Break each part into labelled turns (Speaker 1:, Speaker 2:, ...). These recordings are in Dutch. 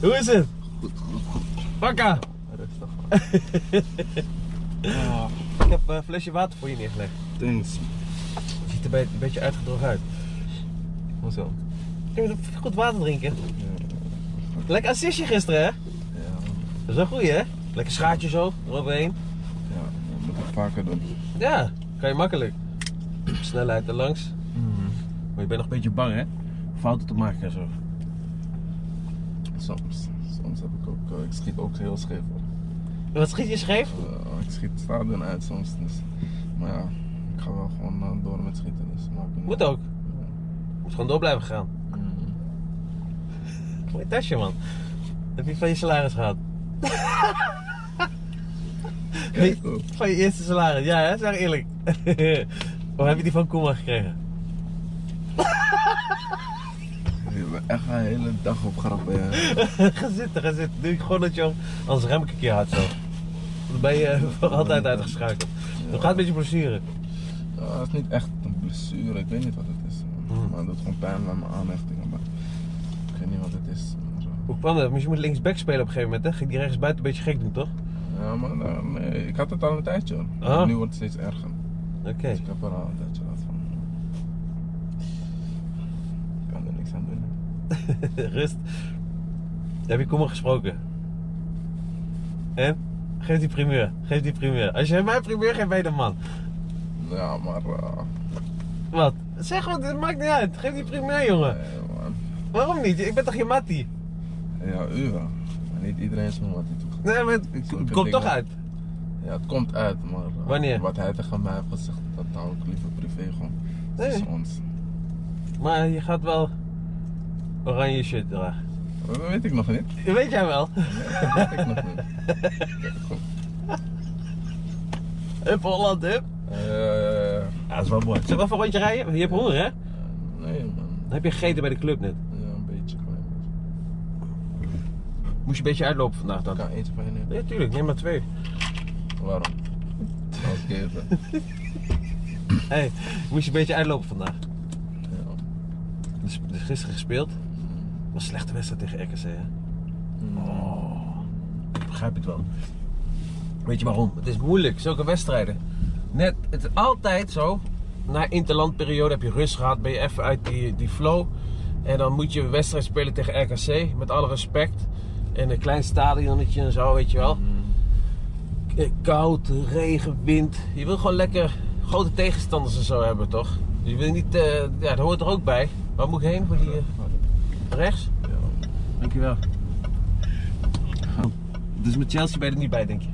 Speaker 1: Hoe is het? Bakka!
Speaker 2: Rustig.
Speaker 1: Ik heb eh, een flesje water voor je neergelegd.
Speaker 2: Ah, Thanks.
Speaker 1: Het ziet er be- een beetje uitgedroogd uit.
Speaker 2: Hoezo?
Speaker 1: Je moet even goed water drinken. Lekker assistje gisteren, hè?
Speaker 2: Ja,
Speaker 1: Dat is wel goed, hè? Lekker schaartje zo, eroverheen.
Speaker 2: ja, dat moet ik vaker doen.
Speaker 1: Ja, kan je makkelijk. Snelheid erlangs. Maar je bent nog een beetje bang, hè? Fouten te maken en zo.
Speaker 2: Soms. Soms heb ik ook. eh, ik schiet ook heel scheef op.
Speaker 1: Wat schiet je scheef?
Speaker 2: Eh, ik schiet stadion uit soms. Dus. Maar ja, ik ga wel gewoon eh, door met schieten. Dus maakt niet
Speaker 1: Moet
Speaker 2: uit.
Speaker 1: ook. Moet gewoon door blijven gaan.
Speaker 2: Mm.
Speaker 1: Mooi tasje, man. Heb je van je salaris gehad?
Speaker 2: Kijk oh, ook.
Speaker 1: Van je eerste salaris, ja, hè? Zeg eerlijk. of heb je die van Koeman gekregen?
Speaker 2: Je bent echt een hele dag op grappen. hè.
Speaker 1: ga zitten, ga zitten. Doe ik gewoon dat je hem anders rem ik een keer hard zo. Dan ben je eh, voor altijd uitgeschakeld.
Speaker 2: Ja.
Speaker 1: Dat gaat een beetje blessure.
Speaker 2: Ja, het is niet echt een blessure, ik weet niet wat het is.
Speaker 1: Mm.
Speaker 2: Maar het doet gewoon pijn bij mijn aanhechtingen. Maar ik weet niet wat het is. Maar, eh,
Speaker 1: Hoe kwam dat? Want je moet linksback spelen op een gegeven moment, hè? Ging die rechtsbuiten een beetje gek doen, toch?
Speaker 2: Ja, maar eh, nee, ik had het al een tijdje. hoor.
Speaker 1: Ah.
Speaker 2: Nu wordt het steeds erger.
Speaker 1: Oké.
Speaker 2: Dus ik heb er al een tijdje last van. Ik kan er niks aan doen. hè.
Speaker 1: Rust. Heb je Koeman gesproken? En? Geef die primeur. Geef die primeur. Als jij mij primeur geeft, ben je de man.
Speaker 2: Ja, maar. eh,
Speaker 1: Wat? Zeg wat, het maakt niet uit. Geef die primeur, jongen.
Speaker 2: nee, man.
Speaker 1: Waarom niet? Ik ben toch je mattie?
Speaker 2: Ja, u wel. Maar niet iedereen is van wat hij doet.
Speaker 1: Nee, maar het
Speaker 2: Zulke
Speaker 1: komt toch
Speaker 2: dingen.
Speaker 1: uit.
Speaker 2: Ja, het komt uit, maar. eh,
Speaker 1: Wanneer?
Speaker 2: Wat hij tegen mij heeft gezegd, dat hou ik liever privé gewoon.
Speaker 1: Nee.
Speaker 2: Tussen ons.
Speaker 1: Maar je gaat wel oranje shirt dragen.
Speaker 2: Dat weet ik nog niet.
Speaker 1: Weet jij wel?
Speaker 2: Dat weet ik nog niet.
Speaker 1: Hup Holland, hup.
Speaker 2: Eh,
Speaker 1: Ja, dat is wel mooi. Zullen we even een rondje rijden? Je hebt honger, hè?
Speaker 2: nee, man.
Speaker 1: Dan heb je gegeten bij de club net.
Speaker 2: Ja, een beetje klein.
Speaker 1: Moest je een beetje uitlopen vandaag
Speaker 2: Ik
Speaker 1: dan?
Speaker 2: kan eentje van je nemen.
Speaker 1: Nee, tuurlijk. Neem maar twee.
Speaker 2: Waarom? Als ik even.
Speaker 1: Hé, hey, moest je een beetje uitlopen vandaag?
Speaker 2: Ja.
Speaker 1: Dus, dus gisteren gespeeld. Was een slechte wedstrijd tegen RKC, hè? Oh, ik begrijp het wel. Weet je waarom? Het is moeilijk, zulke wedstrijden. Net, het is altijd zo. Na interlandperiode heb je rust gehad, ben je even uit die, die flow. En dan moet je een wedstrijd spelen tegen RKC, met alle respect. In een klein stadionnetje en zo, weet je wel. Eh, Koud, regen, wind. Je wil gewoon lekker grote tegenstanders en zo hebben, toch? Je wil niet, eh, ja, dat hoort er ook bij. Waar moet ik heen? Voor die, eh, rechts?
Speaker 2: Ja.
Speaker 1: Dankjewel. Dus met Chelsea ben je er niet bij, denk je?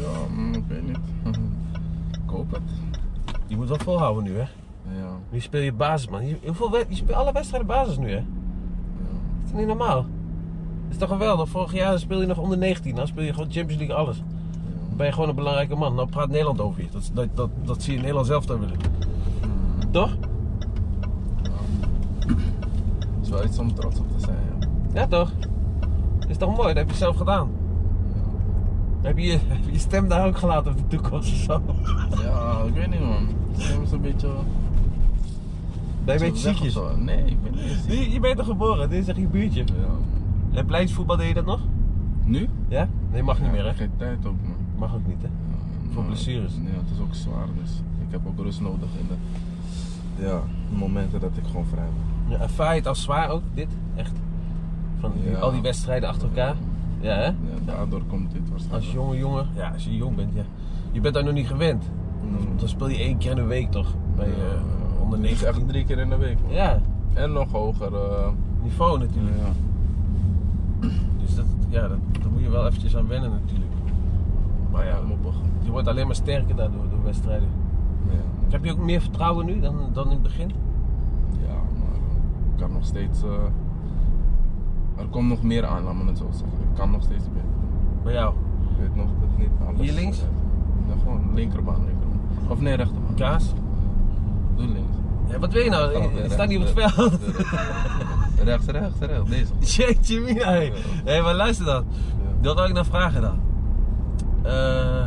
Speaker 2: Ja, mm, ik weet niet. Ik hoop het.
Speaker 1: Je moet wel volhouden nu, hè?
Speaker 2: Ja.
Speaker 1: Nu speel je basis, man. Je, hoeveel wed- je speelt alle wedstrijden basis nu, hè? Dat is niet normaal. Dat is toch geweldig? Vorig jaar speel je nog onder 19. Dan speel je gewoon Champions League alles. Dan ben je gewoon een belangrijke man. Dan praat Nederland over je. Dat, dat, dat, dat zie je Nederland zelf dan willen. Toch?
Speaker 2: Het is wel iets om trots op te zijn, ja.
Speaker 1: Ja, toch? Is toch mooi? Dat heb je zelf gedaan. Heb je heb je je stem daar ook gelaten op de toekomst of zo?
Speaker 2: Ja, Ja, ik weet niet, man. Het is soms een beetje...
Speaker 1: Ben je een beetje ziekjes?
Speaker 2: Zo. Nee, ik ben niet ziek.
Speaker 1: Je, je bent er geboren. Dit is echt je buurtje.
Speaker 2: Ja.
Speaker 1: En plaatsvoetbal deed je dat nog?
Speaker 2: Nu?
Speaker 1: Ja? Nee, mag niet meer, hè?
Speaker 2: Geen tijd ook, man.
Speaker 1: Mag ook niet, hè?
Speaker 2: Ja,
Speaker 1: Voor
Speaker 2: maar-
Speaker 1: blessures.
Speaker 2: Nee, het is ook zwaar, dus ik heb ook rust nodig in de... Ja, momenten dat ik gewoon vrij ben.
Speaker 1: Ja, ervaar je het als zwaar ook, dit? Echt? Van die-
Speaker 2: Ja.
Speaker 1: al die wedstrijden achter elkaar? Ja, hè?
Speaker 2: Ja, daardoor komt dit waarschijnlijk.
Speaker 1: Als jonge jongen, ja, als je jong bent, ja. Je bent daar nog niet gewend.
Speaker 2: Mm.
Speaker 1: Dan speel je één keer in de week toch? Bij
Speaker 2: Ja,
Speaker 1: eh
Speaker 2: ja.
Speaker 1: onder
Speaker 2: Dit is
Speaker 1: 19.
Speaker 2: echt drie keer in de week. man.
Speaker 1: Ja,
Speaker 2: En nog hoger. eh,
Speaker 1: niveau natuurlijk.
Speaker 2: ja.
Speaker 1: Dus dat, ja, dat, daar moet je wel eventjes aan wennen natuurlijk.
Speaker 2: Maar ja, moppig.
Speaker 1: Je wordt alleen maar sterker daardoor, door wedstrijden.
Speaker 2: Ja,
Speaker 1: Heb je ook meer vertrouwen nu dan, dan in het begin?
Speaker 2: ja maar eh, ik kan nog steeds. eh, er komt nog meer aan, laat me het zo zeggen. Ik kan nog steeds beter.
Speaker 1: Bij jou?
Speaker 2: Ik weet nog dat niet alles.
Speaker 1: Hier links?
Speaker 2: eh, ja, gewoon linkerbaan, linkerbaan. Of nee, rechterbaan.
Speaker 1: Kaas?
Speaker 2: Doe links.
Speaker 1: Ja, wat wil je nou?
Speaker 2: Kan ook weer
Speaker 1: Je staat niet op het
Speaker 2: rechts, eh,
Speaker 1: veld.
Speaker 2: eh, Rechts, rechts, rechts. Deze.
Speaker 1: Jeetje mina, hé.
Speaker 2: Ja.
Speaker 1: Hé, maar luister dan.
Speaker 2: Ja.
Speaker 1: Dat wil ik nou vragen dan. Eh,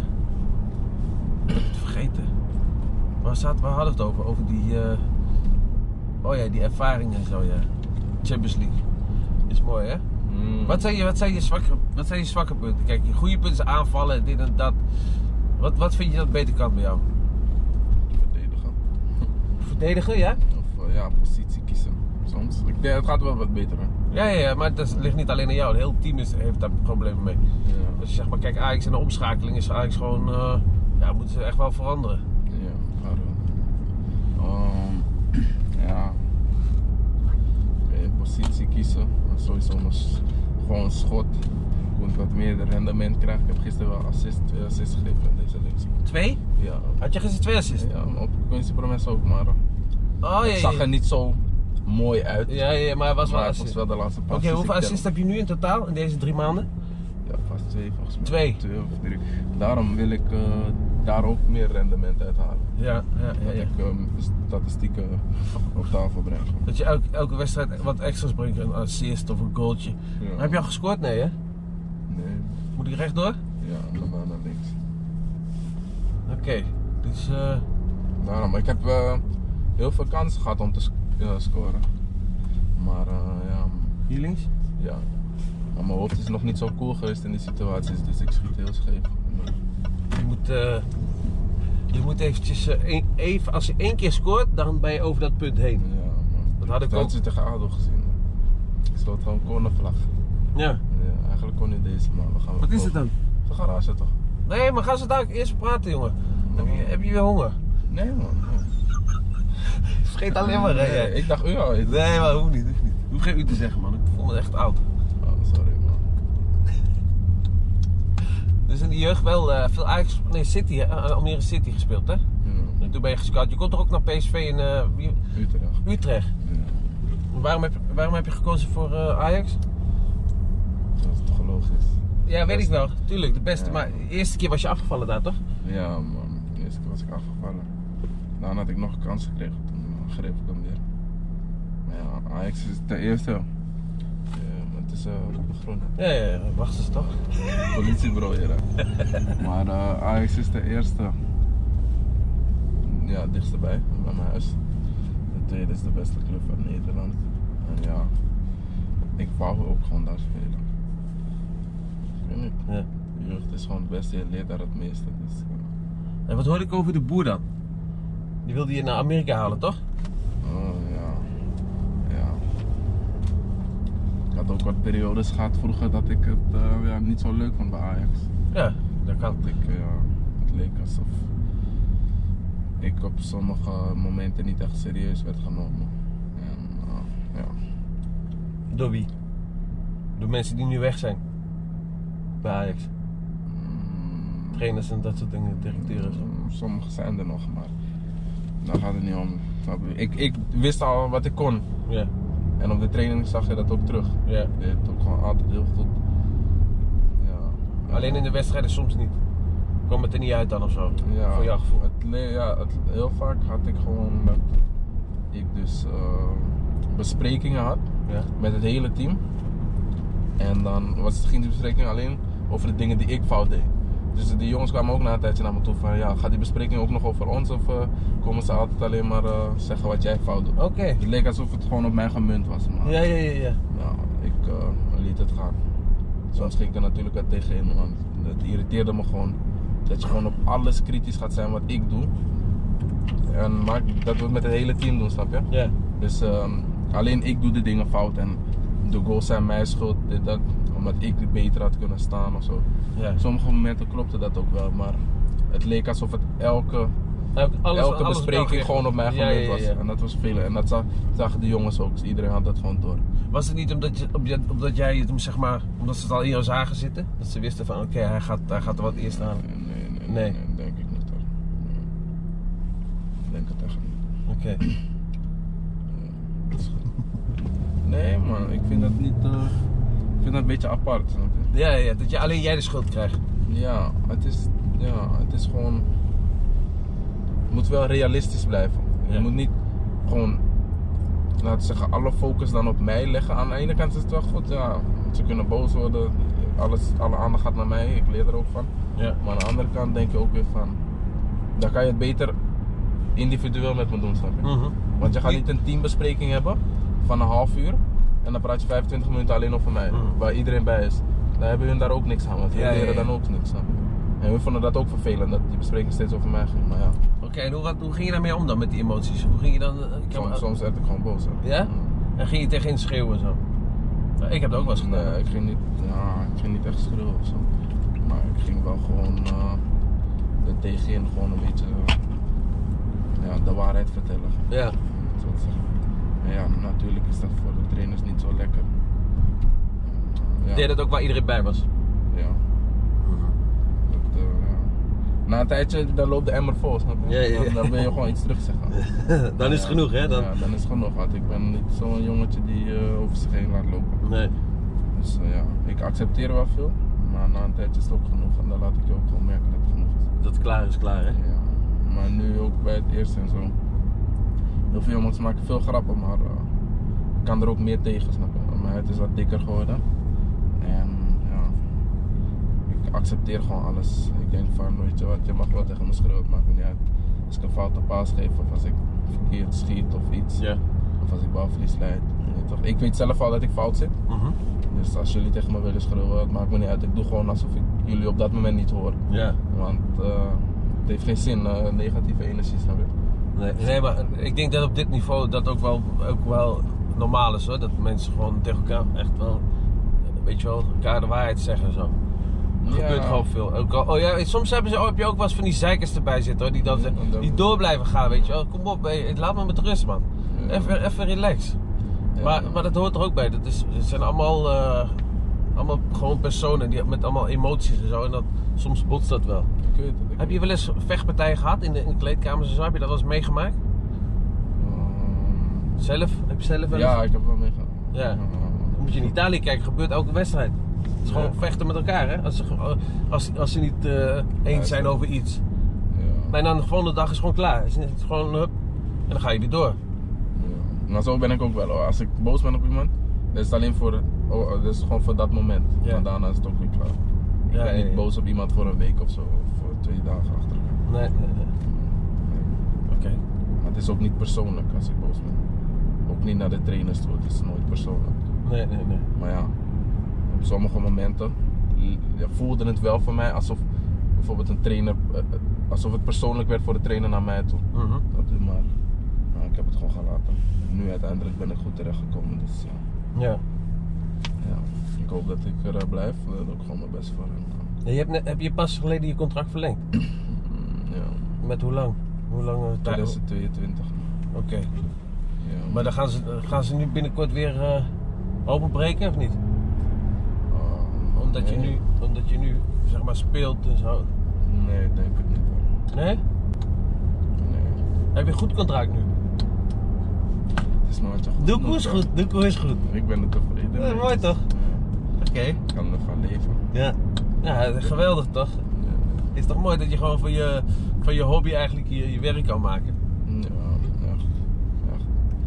Speaker 1: ik heb het vergeten. Waar, zat, waar hadden we het over? Over die... eh, oh ja, die ervaring en zo, ja. Champions League. Is mooi, hè?
Speaker 2: Mm. Mm.
Speaker 1: Wat zijn je, wat zijn je, zwakke, wat zijn je zwakke punten? Kijk, je goede punten is aanvallen, dit en dat. Wat, wat vind je dat beter kan bij jou?
Speaker 2: Verdedigen.
Speaker 1: Verdedigen, ja?
Speaker 2: Of eh, ja, positie kiezen. Soms. Ik denk, het gaat wel wat beter. Hè?
Speaker 1: Ja, ja, ja, maar dat ligt niet alleen aan jou. Het hele team is, heeft daar problemen mee.
Speaker 2: Ja.
Speaker 1: Dus zeg maar, kijk, Ajax en de omschakeling is Ajax gewoon... eh, ja, moeten ze echt wel veranderen.
Speaker 2: Ja, maar, eh, ehm, ja. Ik weet, positie kiezen. Maar Sowieso maar s- gewoon schot. Ik moet wat meer rendement krijgen. Ik heb gisteren wel assist, twee assists gegeven in deze lezing.
Speaker 1: Twee?
Speaker 2: Ja,
Speaker 1: Had je gisteren twee assists?
Speaker 2: ja maar op Quincy Promes ook, maar eh,
Speaker 1: Oh, ja,
Speaker 2: het zag
Speaker 1: ja.
Speaker 2: er niet zo mooi uit.
Speaker 1: Ja, ja, maar het was wel
Speaker 2: maar het was
Speaker 1: assist.
Speaker 2: wel de laatste
Speaker 1: Oké,
Speaker 2: pas.
Speaker 1: hoeveel assists heb je nu in totaal in deze drie maanden?
Speaker 2: Ja, pas twee volgens mij.
Speaker 1: Twee?
Speaker 2: of drie. Daarom wil ik eh, daar ook meer rendement uit halen.
Speaker 1: Ja, ja, ja.
Speaker 2: Dat ik eh, statistieken op tafel breng.
Speaker 1: Dat je elke, elke wedstrijd wat extra's brengt, een assist of een goaltje.
Speaker 2: Ja.
Speaker 1: Heb je al gescoord? Nee, hè?
Speaker 2: Nee.
Speaker 1: Moet ik rechtdoor?
Speaker 2: Ja, dan maar naar links.
Speaker 1: Oké, dus... eh,
Speaker 2: Daarom, ik heb eh, heel veel kansen gehad om te sc- eh, scoren. Maar eh, ja, m-
Speaker 1: Hier links?
Speaker 2: ja. Maar mijn hoofd is nog niet zo cool geweest in die situaties, dus ik schiet heel scheef.
Speaker 1: Je moet, eh, je moet eventjes, eh, een- even, als je één keer scoort, dan ben je over dat punt heen.
Speaker 2: Ja, man.
Speaker 1: Dat had ik ook.
Speaker 2: had je tegen ADO gezien. Ik sloot gewoon cornervlag.
Speaker 1: Ja.
Speaker 2: Ja, eigenlijk kon niet deze, maar we gaan wel boven. De garage toch?
Speaker 1: Nee, maar ga ze daar eerst praten, jongen. Heb je, heb je weer honger?
Speaker 2: Nee man.
Speaker 1: Vergeet alleen maar, hè?
Speaker 2: Nee,
Speaker 1: jij.
Speaker 2: ik dacht u al. Ik-
Speaker 1: Nee, maar hoeft niet, hoeft niet. Hoef geen u te zeggen, man. Ik voel me echt oud.
Speaker 2: Oh, sorry man.
Speaker 1: Dus in de jeugd wel eh, veel Ajax, nee, City, hè? Aan Almere City gespeeld, hè?
Speaker 2: Ja,
Speaker 1: En toen ben je gescout. Je kon toch ook naar PSV in eh, wie-
Speaker 2: Utrecht.
Speaker 1: Utrecht?
Speaker 2: Ja,
Speaker 1: Waarom heb, waarom heb je gekozen voor eh, Ajax?
Speaker 2: dat is toch logisch.
Speaker 1: Ja, weet ik
Speaker 2: Beste.
Speaker 1: wel. Tuurlijk, de beste.
Speaker 2: Ja.
Speaker 1: Maar de eerste keer was je afgevallen daar, toch?
Speaker 2: Ja man, de eerste keer was ik afgevallen. Daarna had ik nog een kans gekregen, toen greep ik hem weer. Maar ja, Ajax is de eerste. Ja, maar het is eh groen. hè.
Speaker 1: Ja, ja, ja. Wacht eens, toch?
Speaker 2: Politiebureau hier. hè. maar eh, Ajax is de eerste. Ja, het dichtst bij, bij mijn huis. De tweede is de beste club van Nederland. En ja, ik wou ook gewoon daar spelen. Ik weet niet.
Speaker 1: Ja.
Speaker 2: De jeugd is gewoon het beste, je leert daar het meeste. Dus, eh,
Speaker 1: En wat hoorde ik over de boer dan? Die wilde je naar Amerika halen, toch?
Speaker 2: oh, ja. ja. Ik had ook wat periodes gehad vroeger dat ik het eh, ja, niet zo leuk vond bij Ajax.
Speaker 1: Ja, dat
Speaker 2: Dat
Speaker 1: kan.
Speaker 2: ik, eh, ja, het leek alsof ik op sommige momenten niet echt serieus werd genomen. En, eh, ja.
Speaker 1: Door wie? Door mensen die nu weg zijn. Bij Ajax.
Speaker 2: Mm,
Speaker 1: Trainers en dat soort dingen, directeuren en zo.
Speaker 2: mm, sommige zijn er nog, maar daar gaat het niet om. Snap je? Ik, ik wist al wat ik kon.
Speaker 1: Ja,
Speaker 2: En op de training zag je dat ook terug.
Speaker 1: ja.
Speaker 2: Je deed het ook gewoon altijd heel goed. Ja.
Speaker 1: Alleen in de wedstrijden soms niet. Kwam het er niet uit dan of zo?
Speaker 2: ja,
Speaker 1: Voor jouw gevoel.
Speaker 2: Het, le- ja, het, heel vaak had ik gewoon dat ik dus eh, besprekingen had.
Speaker 1: Ja.
Speaker 2: met het hele team. En dan was het, ging die bespreking alleen over de dingen die ik fout deed. Dus die jongens kwamen ook na een tijdje naar me toe van ja, gaat die bespreking ook nog over ons of eh, komen ze altijd alleen maar eh, zeggen wat jij fout doet?
Speaker 1: Oké.
Speaker 2: Het leek alsof het gewoon op mij gemunt was, maar
Speaker 1: Ja, ja, ja, ja.
Speaker 2: ja, Nou, ik eh, liet het gaan. Soms ging ik er natuurlijk wat tegenin, want het irriteerde me gewoon dat je gewoon op alles kritisch gaat zijn wat ik doe. En maar dat we het met het hele team doen, snap je?
Speaker 1: Ja,
Speaker 2: Dus ehm, alleen ik doe de dingen fout en de goals zijn mijn schuld, dit, dat, omdat ik beter had kunnen staan of zo.
Speaker 1: ja.
Speaker 2: Op sommige momenten klopte dat ook wel, maar het leek alsof het elke,
Speaker 1: Elke, Nou, alles,
Speaker 2: elke
Speaker 1: alles
Speaker 2: bespreking
Speaker 1: welgericht.
Speaker 2: gewoon op mij
Speaker 1: ja,
Speaker 2: gemunt
Speaker 1: ja, ja,
Speaker 2: was.
Speaker 1: ja.
Speaker 2: En dat was veel. En dat za- zagen de jongens ook, dus iedereen had dat gewoon door.
Speaker 1: Was het niet omdat, je, op je- omdat jij het hem zeg maar, omdat ze het al in jou zagen zitten? Dat ze wisten van oké, hij, gaat, hij gaat er wat eerst aan.
Speaker 2: Nee, nee, nee,
Speaker 1: Nee.
Speaker 2: nee, nee, denk ik niet hoor. Nee. Ik denk het echt niet.
Speaker 1: Oké.
Speaker 2: Dat is goed. Nee man, ik vind dat niet, eh, ik vind dat een beetje apart. snap je?
Speaker 1: Ja, ja, ja, dat je, alleen jij de schuld krijgt.
Speaker 2: Ja, het is, ja, het is gewoon. Je moet wel realistisch blijven. Je
Speaker 1: Ja.
Speaker 2: moet niet gewoon, laten we zeggen, alle focus dan op mij leggen. Aan de ene kant is het wel goed, ja. Ze kunnen boos worden, alles, alle aandacht gaat naar mij, ik leer er ook van.
Speaker 1: Ja.
Speaker 2: Maar aan de andere kant denk je ook weer van, dan kan je het beter
Speaker 1: Mm. Mhm.
Speaker 2: individueel met me doen, snap je? Want je gaat niet een teambespreking hebben van een half uur. En dan praat je 25 minuten alleen over mij,
Speaker 1: Mm.
Speaker 2: waar iedereen bij is. Dan hebben hun daar ook niks aan, want hun
Speaker 1: Ja, ja,
Speaker 2: leren
Speaker 1: ja.
Speaker 2: dan ook niks aan. En hun vonden dat ook vervelend, dat die bespreking steeds over mij ging. Maar ja,
Speaker 1: Oké, en hoe, had- hoe ging je daarmee om dan met die emoties? Hoe ging je dan... eh, ik heb-
Speaker 2: soms, soms werd ik gewoon boos. hè.
Speaker 1: Ja?
Speaker 2: Mm.
Speaker 1: En ging je tegenin schreeuwen en zo? Nou, ik heb dat ook wel eens gedaan.
Speaker 2: Nee, ik ging niet, ja, ik ging niet echt schreeuwen of zo. Maar ik ging wel gewoon eh er tegenin gewoon een beetje eh, ja, de waarheid vertellen.
Speaker 1: Ja.
Speaker 2: om het zo te zeggen. En eh, ja, natuurlijk is dat voor de trainers niet zo lekker. Eh, Ja,
Speaker 1: Deed dat ook waar iedereen bij was?
Speaker 2: ja, dat, eh, ja. Na een tijdje, dan loopt de emmer vol, snap je?
Speaker 1: Ja, ja, ja.
Speaker 2: Dan, dan wil je gewoon iets terugzeggen.
Speaker 1: Mhm. dan is het genoeg, hè? Dan...
Speaker 2: Ja, dan is het genoeg. Want ik ben niet zo'n jongetje die eh, over zich heen laat lopen.
Speaker 1: Nee.
Speaker 2: Dus eh, ja, ik accepteer wel veel, maar na een tijdje is het ook genoeg en dan laat ik je ook gewoon merken dat het genoeg is.
Speaker 1: Dat klaar is klaar, hè?
Speaker 2: Ja. Maar nu ook bij het eerste en zo. Heel veel jongens maken veel grappen, maar eh, ik kan er ook meer tegen, snap je? Mijn huid is wat dikker geworden. En ja, ik accepteer gewoon alles. Ik denk van, weet je wat, je mag wel tegen me schreeuwen, het maakt me niet uit. Als ik een foute paas geef of als ik verkeerd schiet of iets,
Speaker 1: Ja.
Speaker 2: of als ik balverlies leid. je weet toch? Ik weet zelf al dat ik fout zit.
Speaker 1: Mhm.
Speaker 2: Dus als jullie tegen me willen schreeuwen, het maakt me niet uit. Ik doe gewoon alsof ik jullie op dat moment niet hoor.
Speaker 1: Ja.
Speaker 2: Want eh, het heeft geen zin, eh, negatieve energie, snap je?
Speaker 1: Nee. nee, maar ik denk dat op dit niveau dat ook wel, ook wel normaal is, hoor. Dat mensen gewoon tegen elkaar echt wel, weet je wel, elkaar de waarheid zeggen en zo. Er
Speaker 2: Ja.
Speaker 1: gebeurt gewoon veel. Ook al, oh ja, soms hebben ze, oh, heb je ook wel eens van die zeikers erbij zitten, hoor. Die, dan,
Speaker 2: Ja, dat-
Speaker 1: die door blijven gaan, weet je wel. Kom op, hey, laat me met rust, man.
Speaker 2: Ja.
Speaker 1: Even, even relax.
Speaker 2: Ja.
Speaker 1: Maar, maar dat hoort er ook bij. Dat is, het zijn allemaal, eh, allemaal gewoon personen die, met allemaal emoties en zo. En dat, soms botst dat wel.
Speaker 2: Ik weet het, ik
Speaker 1: Heb je wel eens vechtpartijen gehad in de, in de kleedkamers en zo? Heb je dat wel eens meegemaakt?
Speaker 2: Ehm,
Speaker 1: Zelf? Heb je zelf wel eens?
Speaker 2: ja, ik heb wel meegemaakt.
Speaker 1: Ja.
Speaker 2: Ja.
Speaker 1: Dan moet je in Italië kijken, gebeurt elke wedstrijd. Het is gewoon
Speaker 2: Ja.
Speaker 1: vechten met elkaar, hè? Als ze, ge- als, als ze niet eh, eens
Speaker 2: is
Speaker 1: zijn
Speaker 2: dat-
Speaker 1: over iets.
Speaker 2: Ja.
Speaker 1: En dan de volgende dag is gewoon klaar. Is het gewoon, hup, en dan ga je weer door.
Speaker 2: Ja. Maar zo ben ik ook wel hoor. Als ik boos ben op iemand, dan is het alleen voor, oh, dat is gewoon voor dat moment.
Speaker 1: Ja.
Speaker 2: Maar daarna is het ook weer klaar. Ik
Speaker 1: Ja,
Speaker 2: ben
Speaker 1: ja,
Speaker 2: niet
Speaker 1: ja.
Speaker 2: boos op iemand voor een week of zo, of voor twee dagen achter elkaar.
Speaker 1: Nee, nee, nee. Oké.
Speaker 2: Maar het is ook niet persoonlijk als ik boos ben. Ook niet naar de trainers toe, het is nooit persoonlijk.
Speaker 1: Nee, nee, nee.
Speaker 2: Maar ja, op sommige momenten l- ja, voelde het wel voor mij alsof bijvoorbeeld een trainer, eh, eh, alsof het persoonlijk werd voor de trainer naar mij toe.
Speaker 1: Mhm.
Speaker 2: Dat is maar, maar ik heb het gewoon gelaten. Nu uiteindelijk ben ik goed terechtgekomen, dus ja.
Speaker 1: Ja.
Speaker 2: ja. Ik hoop dat ik er eh, blijf, dat ik gewoon mijn best voor hem kan.
Speaker 1: En Je hebt, net- heb je pas geleden je contract verlengd?
Speaker 2: Mm, Ja,
Speaker 1: Met hoe lang? Hoe lang? eh, tijd?
Speaker 2: 2022.
Speaker 1: Oké.
Speaker 2: Ja.
Speaker 1: Maar dan gaan ze, gaan ze nu binnenkort weer eh, openbreken of niet?
Speaker 2: Eh,
Speaker 1: Omdat je
Speaker 2: nee.
Speaker 1: nu, omdat je nu zeg maar speelt en zo.
Speaker 2: Nee, ik denk het niet. hoor.
Speaker 1: Nee?
Speaker 2: Nee,
Speaker 1: Heb je een goed contract nu?
Speaker 2: het is nooit zo goed.
Speaker 1: Doekoe is goed, Doekoe is goed.
Speaker 2: Ik ben er tevreden
Speaker 1: Ja,
Speaker 2: mee.
Speaker 1: mooi toch?
Speaker 2: Ja,
Speaker 1: Oké.
Speaker 2: ik kan ervan leven.
Speaker 1: Ja. Ja, geweldig toch?
Speaker 2: Ja.
Speaker 1: Is toch mooi dat je gewoon van je, van je hobby eigenlijk je, je werk kan maken.
Speaker 2: Ja, echt. echt.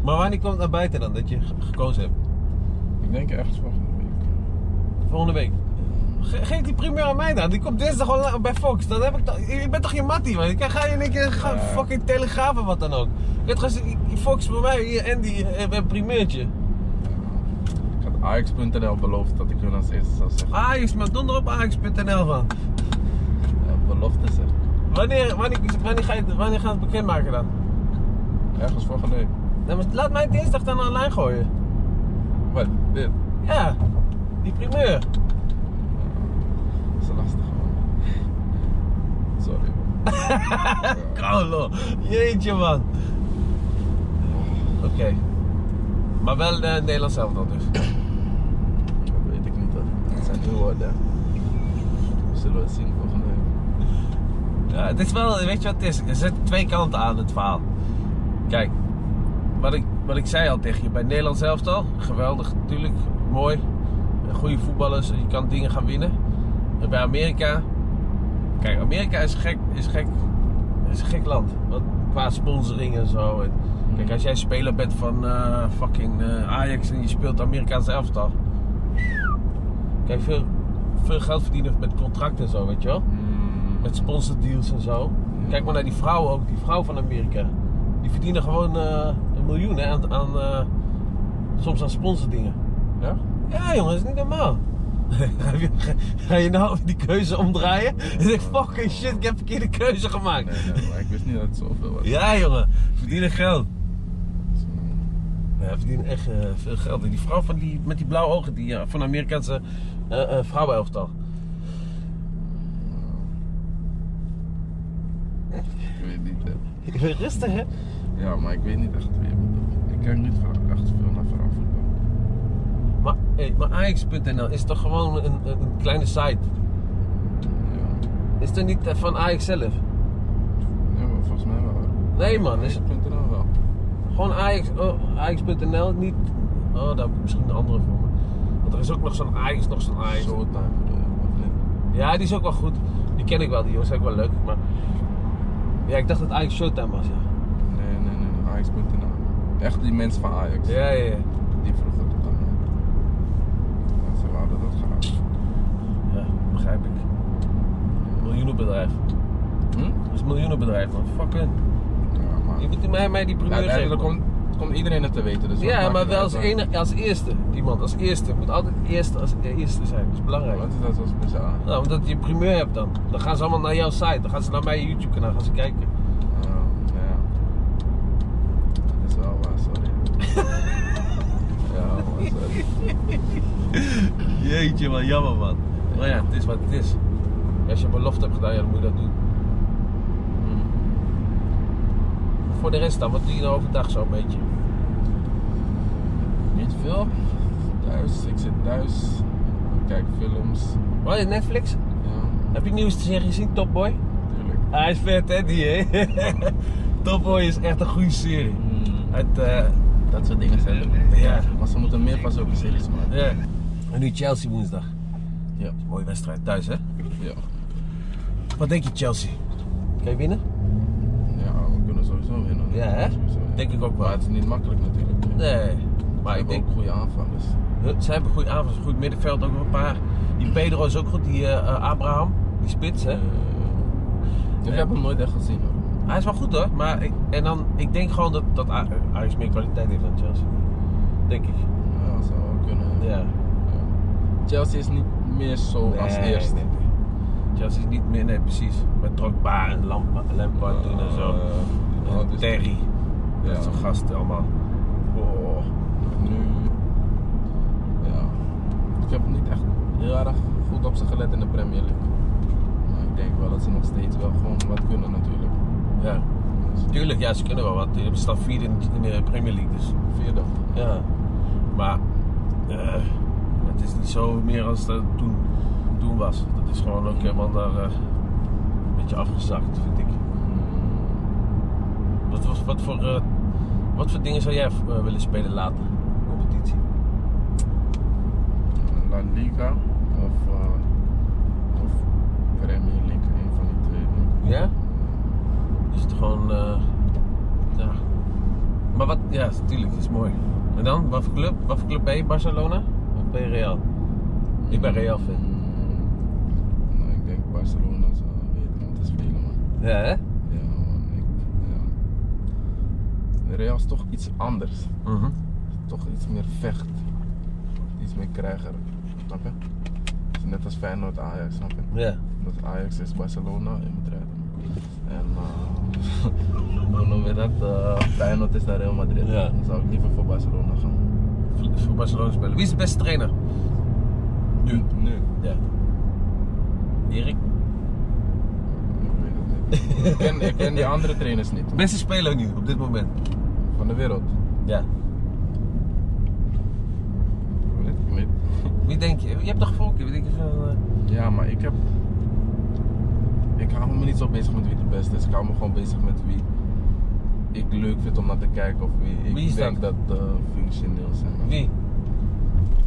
Speaker 1: Maar wanneer komt het naar buiten dan dat je ge- gekozen hebt?
Speaker 2: Ik denk echt volgende week.
Speaker 1: Volgende week. Ge- geef die primeur aan mij dan. Die komt dinsdag al la- bij Fox. Dan heb ik toch. Ik ben toch je mattie, man. Ik ga je in één keer ga-
Speaker 2: Ja.
Speaker 1: fucking telegraaf of wat dan ook. Ik heb gewoon Fox voor mij hier en die een primeurtje.
Speaker 2: Ik had Ajax.nl beloofd dat ik hun als eerste zou zeggen.
Speaker 1: Ajax, maar donder op Ajax.nl van.
Speaker 2: Ja, belofte zeg.
Speaker 1: Wanneer, wanneer, wanneer, ga je, het- wanneer gaan we het bekendmaken dan?
Speaker 2: Ergens volgende week.
Speaker 1: Nou, maar laat mij dinsdag dan online gooien.
Speaker 2: Wat? Dit?
Speaker 1: Ja, die primeur.
Speaker 2: Dat is lastig man. Sorry man.
Speaker 1: Kaulo. Jeetje man. Oké. Maar wel eh Nederlands zelf dan dus.
Speaker 2: Dat weet ik niet hoor. Het zijn nu woorden. We zullen het zien volgende week.
Speaker 1: Ja, het is wel, weet je wat het is? Er zitten twee kanten aan het verhaal. Kijk, wat ik, wat ik zei al tegen je, bij Nederland zelf al, geweldig natuurlijk, mooi. Goede voetballers, je kan dingen gaan winnen. En bij Amerika, kijk, Amerika is gek, is gek, is een gek land. Want qua sponsoring en zo. En,
Speaker 2: Mhm.
Speaker 1: kijk, als jij speler bent van eh, fucking eh, Ajax en je speelt Amerikaans elftal. Kijk, veel, veel geld verdienen met contracten en zo, weet je wel.
Speaker 2: Hmm.
Speaker 1: Met sponsordeals en zo. Kijk maar naar die vrouwen ook, die vrouw van Amerika. Die verdienen gewoon eh, een miljoen hè, aan, aan eh, soms aan sponsordingen.
Speaker 2: Ja?
Speaker 1: Ja, jongen, dat is niet normaal. Heb je- Ga je nou die keuze omdraaien? Ik denk, fucking shit, ik heb verkeerde keuze gemaakt.
Speaker 2: Nee, nee, maar ik wist niet dat het zoveel was.
Speaker 1: Ja, jongen, verdienen geld.
Speaker 2: Dus, mm,
Speaker 1: Ja, verdienen echt eh, veel geld. En die vrouw van die, met die blauwe ogen, die eh, van de Amerikaanse eh eh vrouwenelftal.
Speaker 2: Ik weet niet. hè.
Speaker 1: Rustig, hè?
Speaker 2: Ja, maar ik weet niet echt wie je bedoelt. Ik kijk niet ver- echt veel naar verhaal voetbal.
Speaker 1: Maar, hey, maar Ajax.nl is toch gewoon een, een een kleine site?
Speaker 2: Ja,
Speaker 1: Is toch niet eh, van Ajax zelf?
Speaker 2: ja maar volgens mij wel.
Speaker 1: Nee, man, is
Speaker 2: Is
Speaker 1: het
Speaker 2: het .nl wel?
Speaker 1: gewoon Ajax, oh, Ajax.nl, niet... Oh, daar heb ik misschien een andere voor me. Want er is ook nog zo'n Ajax, nog zo'n Ajax.
Speaker 2: Showtime bedoel je, of niet?
Speaker 1: Ja, die is ook wel goed. Die ken ik wel, die jongens zijn ook wel leuk. Maar ja, ik dacht dat Ajax Showtime was, ja.
Speaker 2: Nee, nee, nee, nee. Ajax.nl. Echt die mensen van Ajax.
Speaker 1: Ja, ja, ja.
Speaker 2: Die vroeger dat dan. eh, Dat ze hadden dat gedaan.
Speaker 1: Ja, begrijp ik. Miljoenenbedrijf.
Speaker 2: Hm?
Speaker 1: Dat is een miljoenenbedrijf, man. Fuck hun.
Speaker 2: Ja, maar...
Speaker 1: Je moet mij, mij die primeur geven.
Speaker 2: Uiteindelijk
Speaker 1: man.
Speaker 2: komt, komt iedereen het te weten. Dus wat
Speaker 1: Ja,
Speaker 2: maakt
Speaker 1: maar
Speaker 2: het
Speaker 1: wel
Speaker 2: uit,
Speaker 1: als,
Speaker 2: man?
Speaker 1: ene, als eerste. Iemand als eerste. moet altijd eerste als eerste zijn. Dat is belangrijk.
Speaker 2: Wat is dat zo speciaal?
Speaker 1: Nou, omdat je primeur hebt dan. Dan gaan ze allemaal naar jouw site. Dan gaan ze naar mijn YouTube kanaal gaan ze kijken.
Speaker 2: Ja, ja. Dat is wel waar, sorry. ja, maar sorry.
Speaker 1: Jeetje, wat jammer man. Maar ja, het is wat het is. Als je een belofte hebt gedaan, ja, dan moet je dat doen.
Speaker 2: Hmm.
Speaker 1: Voor de rest dan, wat doe je dan overdag zo'n beetje?
Speaker 2: Niet veel. Thuis, ik zit thuis. Ik kijk films.
Speaker 1: Wat, Netflix?
Speaker 2: Ja,
Speaker 1: Heb je een nieuwe serie gezien, Top Boy?
Speaker 2: natuurlijk.
Speaker 1: Hij is vet hè, die hè? Top Boy is echt een goede serie.
Speaker 2: Hmm.
Speaker 1: Uit, eh,
Speaker 2: Dat soort dingen zijn er.
Speaker 1: Ja.
Speaker 2: Maar ze moeten meer pas op de series maken.
Speaker 1: ja. En nu Chelsea woensdag.
Speaker 2: Ja.
Speaker 1: Mooie wedstrijd thuis hè?
Speaker 2: Ja.
Speaker 1: Wat denk je Chelsea? Kan je winnen?
Speaker 2: ja, we kunnen sowieso winnen.
Speaker 1: Ja, hè?
Speaker 2: Sowieso, ja.
Speaker 1: Denk ik ook wel.
Speaker 2: Maar het is niet makkelijk natuurlijk.
Speaker 1: Nee.
Speaker 2: Maar
Speaker 1: Maar ik denk,
Speaker 2: ook goede aanvallers.
Speaker 1: Huh, Ze hebben goede avond, goed middenveld ook nog een paar. Die Pedro is ook goed, die eh, eh, Abraham, die spits hè.
Speaker 2: Eh, ik heb hem nooit echt gezien hoor.
Speaker 1: Hij is wel goed hoor, maar ik, en dan, ik denk gewoon dat, dat A- Ajax meer kwaliteit heeft dan Chelsea. Denk ik.
Speaker 2: Ja, dat zou wel kunnen.
Speaker 1: Ja.
Speaker 2: Ja. Chelsea is niet meer zo als
Speaker 1: Nee,
Speaker 2: eerst.
Speaker 1: nee, nee. Chelsea is niet meer, nee precies. Met Drogba en Lamp- Lampard toen en zo.
Speaker 2: Eh,
Speaker 1: En
Speaker 2: dat is-
Speaker 1: Terry.
Speaker 2: Ja.
Speaker 1: Dat soort gasten allemaal. Oh.
Speaker 2: Nu, ja. Ik heb niet echt heel erg goed op ze gelet in de Premier League. Maar ik denk wel dat ze nog steeds wel gewoon wat kunnen natuurlijk.
Speaker 1: Ja.
Speaker 2: Dus
Speaker 1: Tuurlijk, ja, ze kunnen wel wat. Ze staan vierde in, in de Premier League dus.
Speaker 2: vierde.
Speaker 1: Ja. Maar eh, het is niet zo meer als dat het toen, toen was. Dat is gewoon ook helemaal daar eh, een beetje afgezakt, vind ik.
Speaker 2: Hmm.
Speaker 1: Wat, was wat, voor, eh, wat voor dingen zou jij eh, willen spelen later? Competitie.
Speaker 2: Hmm, La Liga of, eh, of Premier League, een van die twee.
Speaker 1: Ja? Is het gewoon. eh, ja. Maar wat, ja, natuurlijk, dat is mooi. En dan, wat voor club, wat voor club ben je? Barcelona? Of ben je Real? Ik ben Real fan.
Speaker 2: Hmm, nou, ik denk Barcelona zou weten om te spelen man.
Speaker 1: Ja, hè?
Speaker 2: Ja, man, ik, ja. De Real is toch iets anders.
Speaker 1: Mhm.
Speaker 2: Toch iets meer vecht. Iets meer krijger. Snap je? Het is net als Feyenoord Ajax, snap je?
Speaker 1: Ja.
Speaker 2: Dat Ajax is Barcelona in Madrid. En eh hoe noem je dat? Eh, Feyenoord is naar Real Madrid.
Speaker 1: Ja.
Speaker 2: Dan zou ik liever voor Barcelona gaan.
Speaker 1: Voor- Voor Barcelona spelen. Wie is de beste trainer?
Speaker 2: Nu? Nu.
Speaker 1: Ja. Erik?
Speaker 2: Ik weet het niet. ik, ken, ik ken die andere trainers niet.
Speaker 1: Beste speler nu, op dit moment.
Speaker 2: Van de wereld.
Speaker 1: Ja.
Speaker 2: Weet ik niet.
Speaker 1: Wie denk je? Je hebt toch voorkeur? Wie denk je van... eh,
Speaker 2: Ja, maar ik heb. Ik hou me niet zo bezig met wie de beste is. Ik hou me gewoon bezig met wie ik leuk vind om naar te kijken. Of wie ik
Speaker 1: Wie is
Speaker 2: denk dat, eh, functioneel zijn.
Speaker 1: Wie?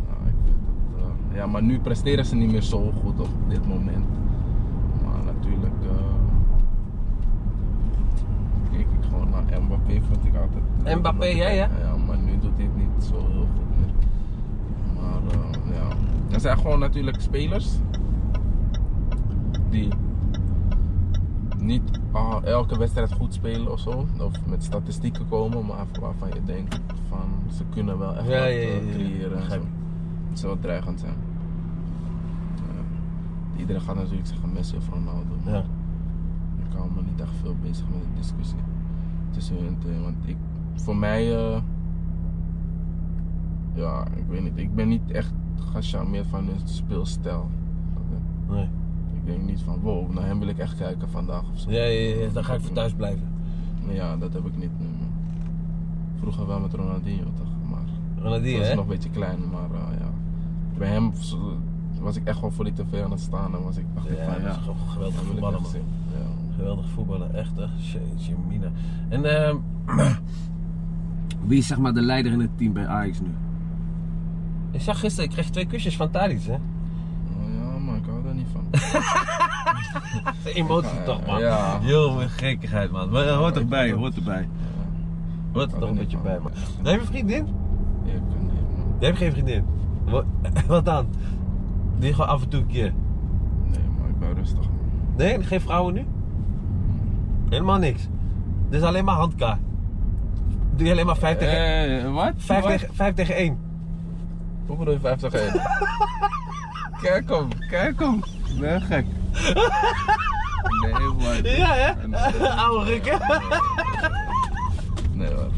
Speaker 2: Nou, ik vind dat, eh, ja, maar nu presteren ze niet meer zo goed op dit moment. Maar natuurlijk. eh, keek ik gewoon naar Mbappé, vond ik altijd. leuk om
Speaker 1: Mbappé,
Speaker 2: naar te
Speaker 1: ja, ja.
Speaker 2: kijken. Ja, maar nu doet hij het niet zo heel goed meer. Maar eh, ja. Er zijn gewoon natuurlijk spelers. die niet ah, elke wedstrijd goed spelen of zo. Of met statistieken komen, maar waarvan je denkt van ze kunnen wel echt
Speaker 1: Ja,
Speaker 2: wat
Speaker 1: ja, ja,
Speaker 2: eh,
Speaker 1: ja.
Speaker 2: creëren. en
Speaker 1: Begrijp
Speaker 2: zo. Het zou dreigend zijn. Ja. Iedereen gaat natuurlijk zeggen Messi of Ronaldo. maar
Speaker 1: Ja.
Speaker 2: Ik hou me niet echt veel bezig met de discussie tussen hun twee. Want ik, voor mij, eh, ja, ik weet niet. Ik ben niet echt gecharmeerd van hun speelstijl. Snap je?
Speaker 1: Nee.
Speaker 2: Ik denk niet van, wow, naar hem wil ik echt kijken vandaag of zo.
Speaker 1: Ja, ja, ja, dan ga ik voor thuis blijven.
Speaker 2: Maar ja, dat heb ik niet nu. man. Vroeger wel met Ronaldinho toch, maar
Speaker 1: Ronaldinho,
Speaker 2: was
Speaker 1: hè?
Speaker 2: nog een beetje klein, maar eh, ja. Bij hem zo- was ik echt wel voor die tv aan het staan en was ik dacht ik
Speaker 1: Ja,
Speaker 2: van,
Speaker 1: dat
Speaker 2: ja,
Speaker 1: is gewoon geweldig
Speaker 2: dat wil ik
Speaker 1: voetballen,
Speaker 2: echt
Speaker 1: man.
Speaker 2: zien. Ja.
Speaker 1: Geweldig voetballen, echt, hè? Jeetje, mina. En ehm, wie is zeg maar de leider in het team bij Ajax nu? Ik zag gisteren, ik kreeg twee kusjes van Thalys, hè?
Speaker 2: Oh, ja, man, ik hou daar niet van.
Speaker 1: Emotie
Speaker 2: Ja,
Speaker 1: toch, man?
Speaker 2: ja.
Speaker 1: Heel veel gekkigheid, man. Maar, eh, hoort erbij, hoort erbij. Hoort er
Speaker 2: kan
Speaker 1: toch een
Speaker 2: er
Speaker 1: beetje
Speaker 2: niet
Speaker 1: bij,
Speaker 2: van.
Speaker 1: man. Heb je een vriendin?
Speaker 2: Ja, ik kan niet, man.
Speaker 1: Je hebt geen vriendin. Wa- Wat dan? Die gewoon af en toe een keer.
Speaker 2: Nee, maar ik ben rustig, man.
Speaker 1: Nee, geen vrouwen nu? Helemaal niks. Dit is alleen maar handka. Doe je alleen maar 5 tegen,
Speaker 2: Hey, Eh, wat?
Speaker 1: 5
Speaker 2: Wat?
Speaker 1: tegen, 5 tegen 1.
Speaker 2: Hoe bedoel je 50 1? kijk hem, kijk hem. Nee, gek. Nee, man.
Speaker 1: Ja,
Speaker 2: Nee,
Speaker 1: hè? Oude rukken.
Speaker 2: Nee, man.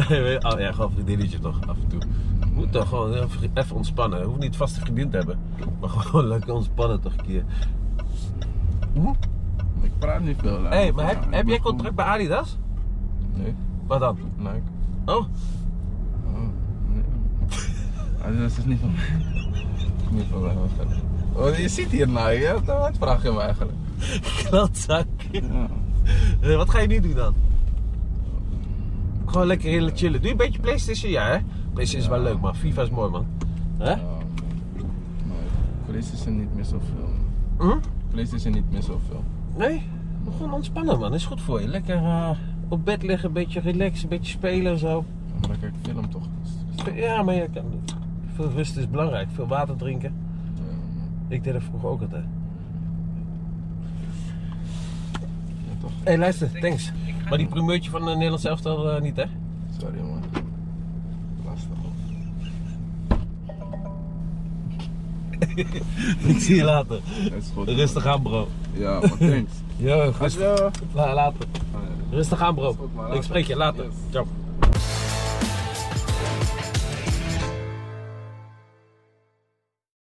Speaker 1: Nee, weet- oh, ja, gewoon een vriendinnetje toch, af en toe. Moet toch gewoon even- even ontspannen. Hoeft niet vast een vriendin te hebben. Maar gewoon lekker ontspannen toch een keer.
Speaker 2: Ik praat niet veel. laat
Speaker 1: Hé, hey,
Speaker 2: me
Speaker 1: maar heb,
Speaker 2: gaan.
Speaker 1: heb
Speaker 2: Ik
Speaker 1: jij
Speaker 2: ben
Speaker 1: contract bij Adidas?
Speaker 2: goed. Nee,
Speaker 1: Wat dan?
Speaker 2: Nike.
Speaker 1: Oh,
Speaker 2: Oh, nee. Ah, dat is niet van mij. Niet van mij, maar verder. Oh, je ziet hier Nike, ja? Wat vraag je me eigenlijk? Oh,
Speaker 1: klootzak.
Speaker 2: Ja.
Speaker 1: Eh, Wat ga je nu doen dan? Gewoon lekker heel chillen. Doe je een beetje PlayStation? Ja, hè? PlayStation is wel leuk, man. FIFA is mooi, man. Hè?
Speaker 2: Ja, man. Maar PlayStation niet meer zoveel.
Speaker 1: Hm?
Speaker 2: PlayStation niet meer zoveel.
Speaker 1: Nee? Gewoon ontspannen, man. Is goed voor je. Lekker eh, op bed liggen, een beetje relaxen, een beetje spelen en zo.
Speaker 2: Maar dan kijk ik film toch. Dus- dus-
Speaker 1: Ja, maar je kan... Veel rust is belangrijk. Veel water drinken.
Speaker 2: ja, man.
Speaker 1: Ik deed dat vroeger ook altijd.
Speaker 2: Ja, toch.
Speaker 1: Hé, hey, luister, thanks. Maar die primeurtje van de Nederlands elftal eh, niet, hè?
Speaker 2: Sorry man. Lastig.
Speaker 1: Ik zie je later.
Speaker 2: Dat is goed.
Speaker 1: Rustig aan, bro.
Speaker 2: Ja, maar thanks.
Speaker 1: Yo,
Speaker 2: Als je...
Speaker 1: La- Later. Rustig aan, bro.
Speaker 2: Oh, Is goed, maar
Speaker 1: Ik
Speaker 2: later.
Speaker 1: spreek je later.
Speaker 2: Yes.
Speaker 1: Ciao.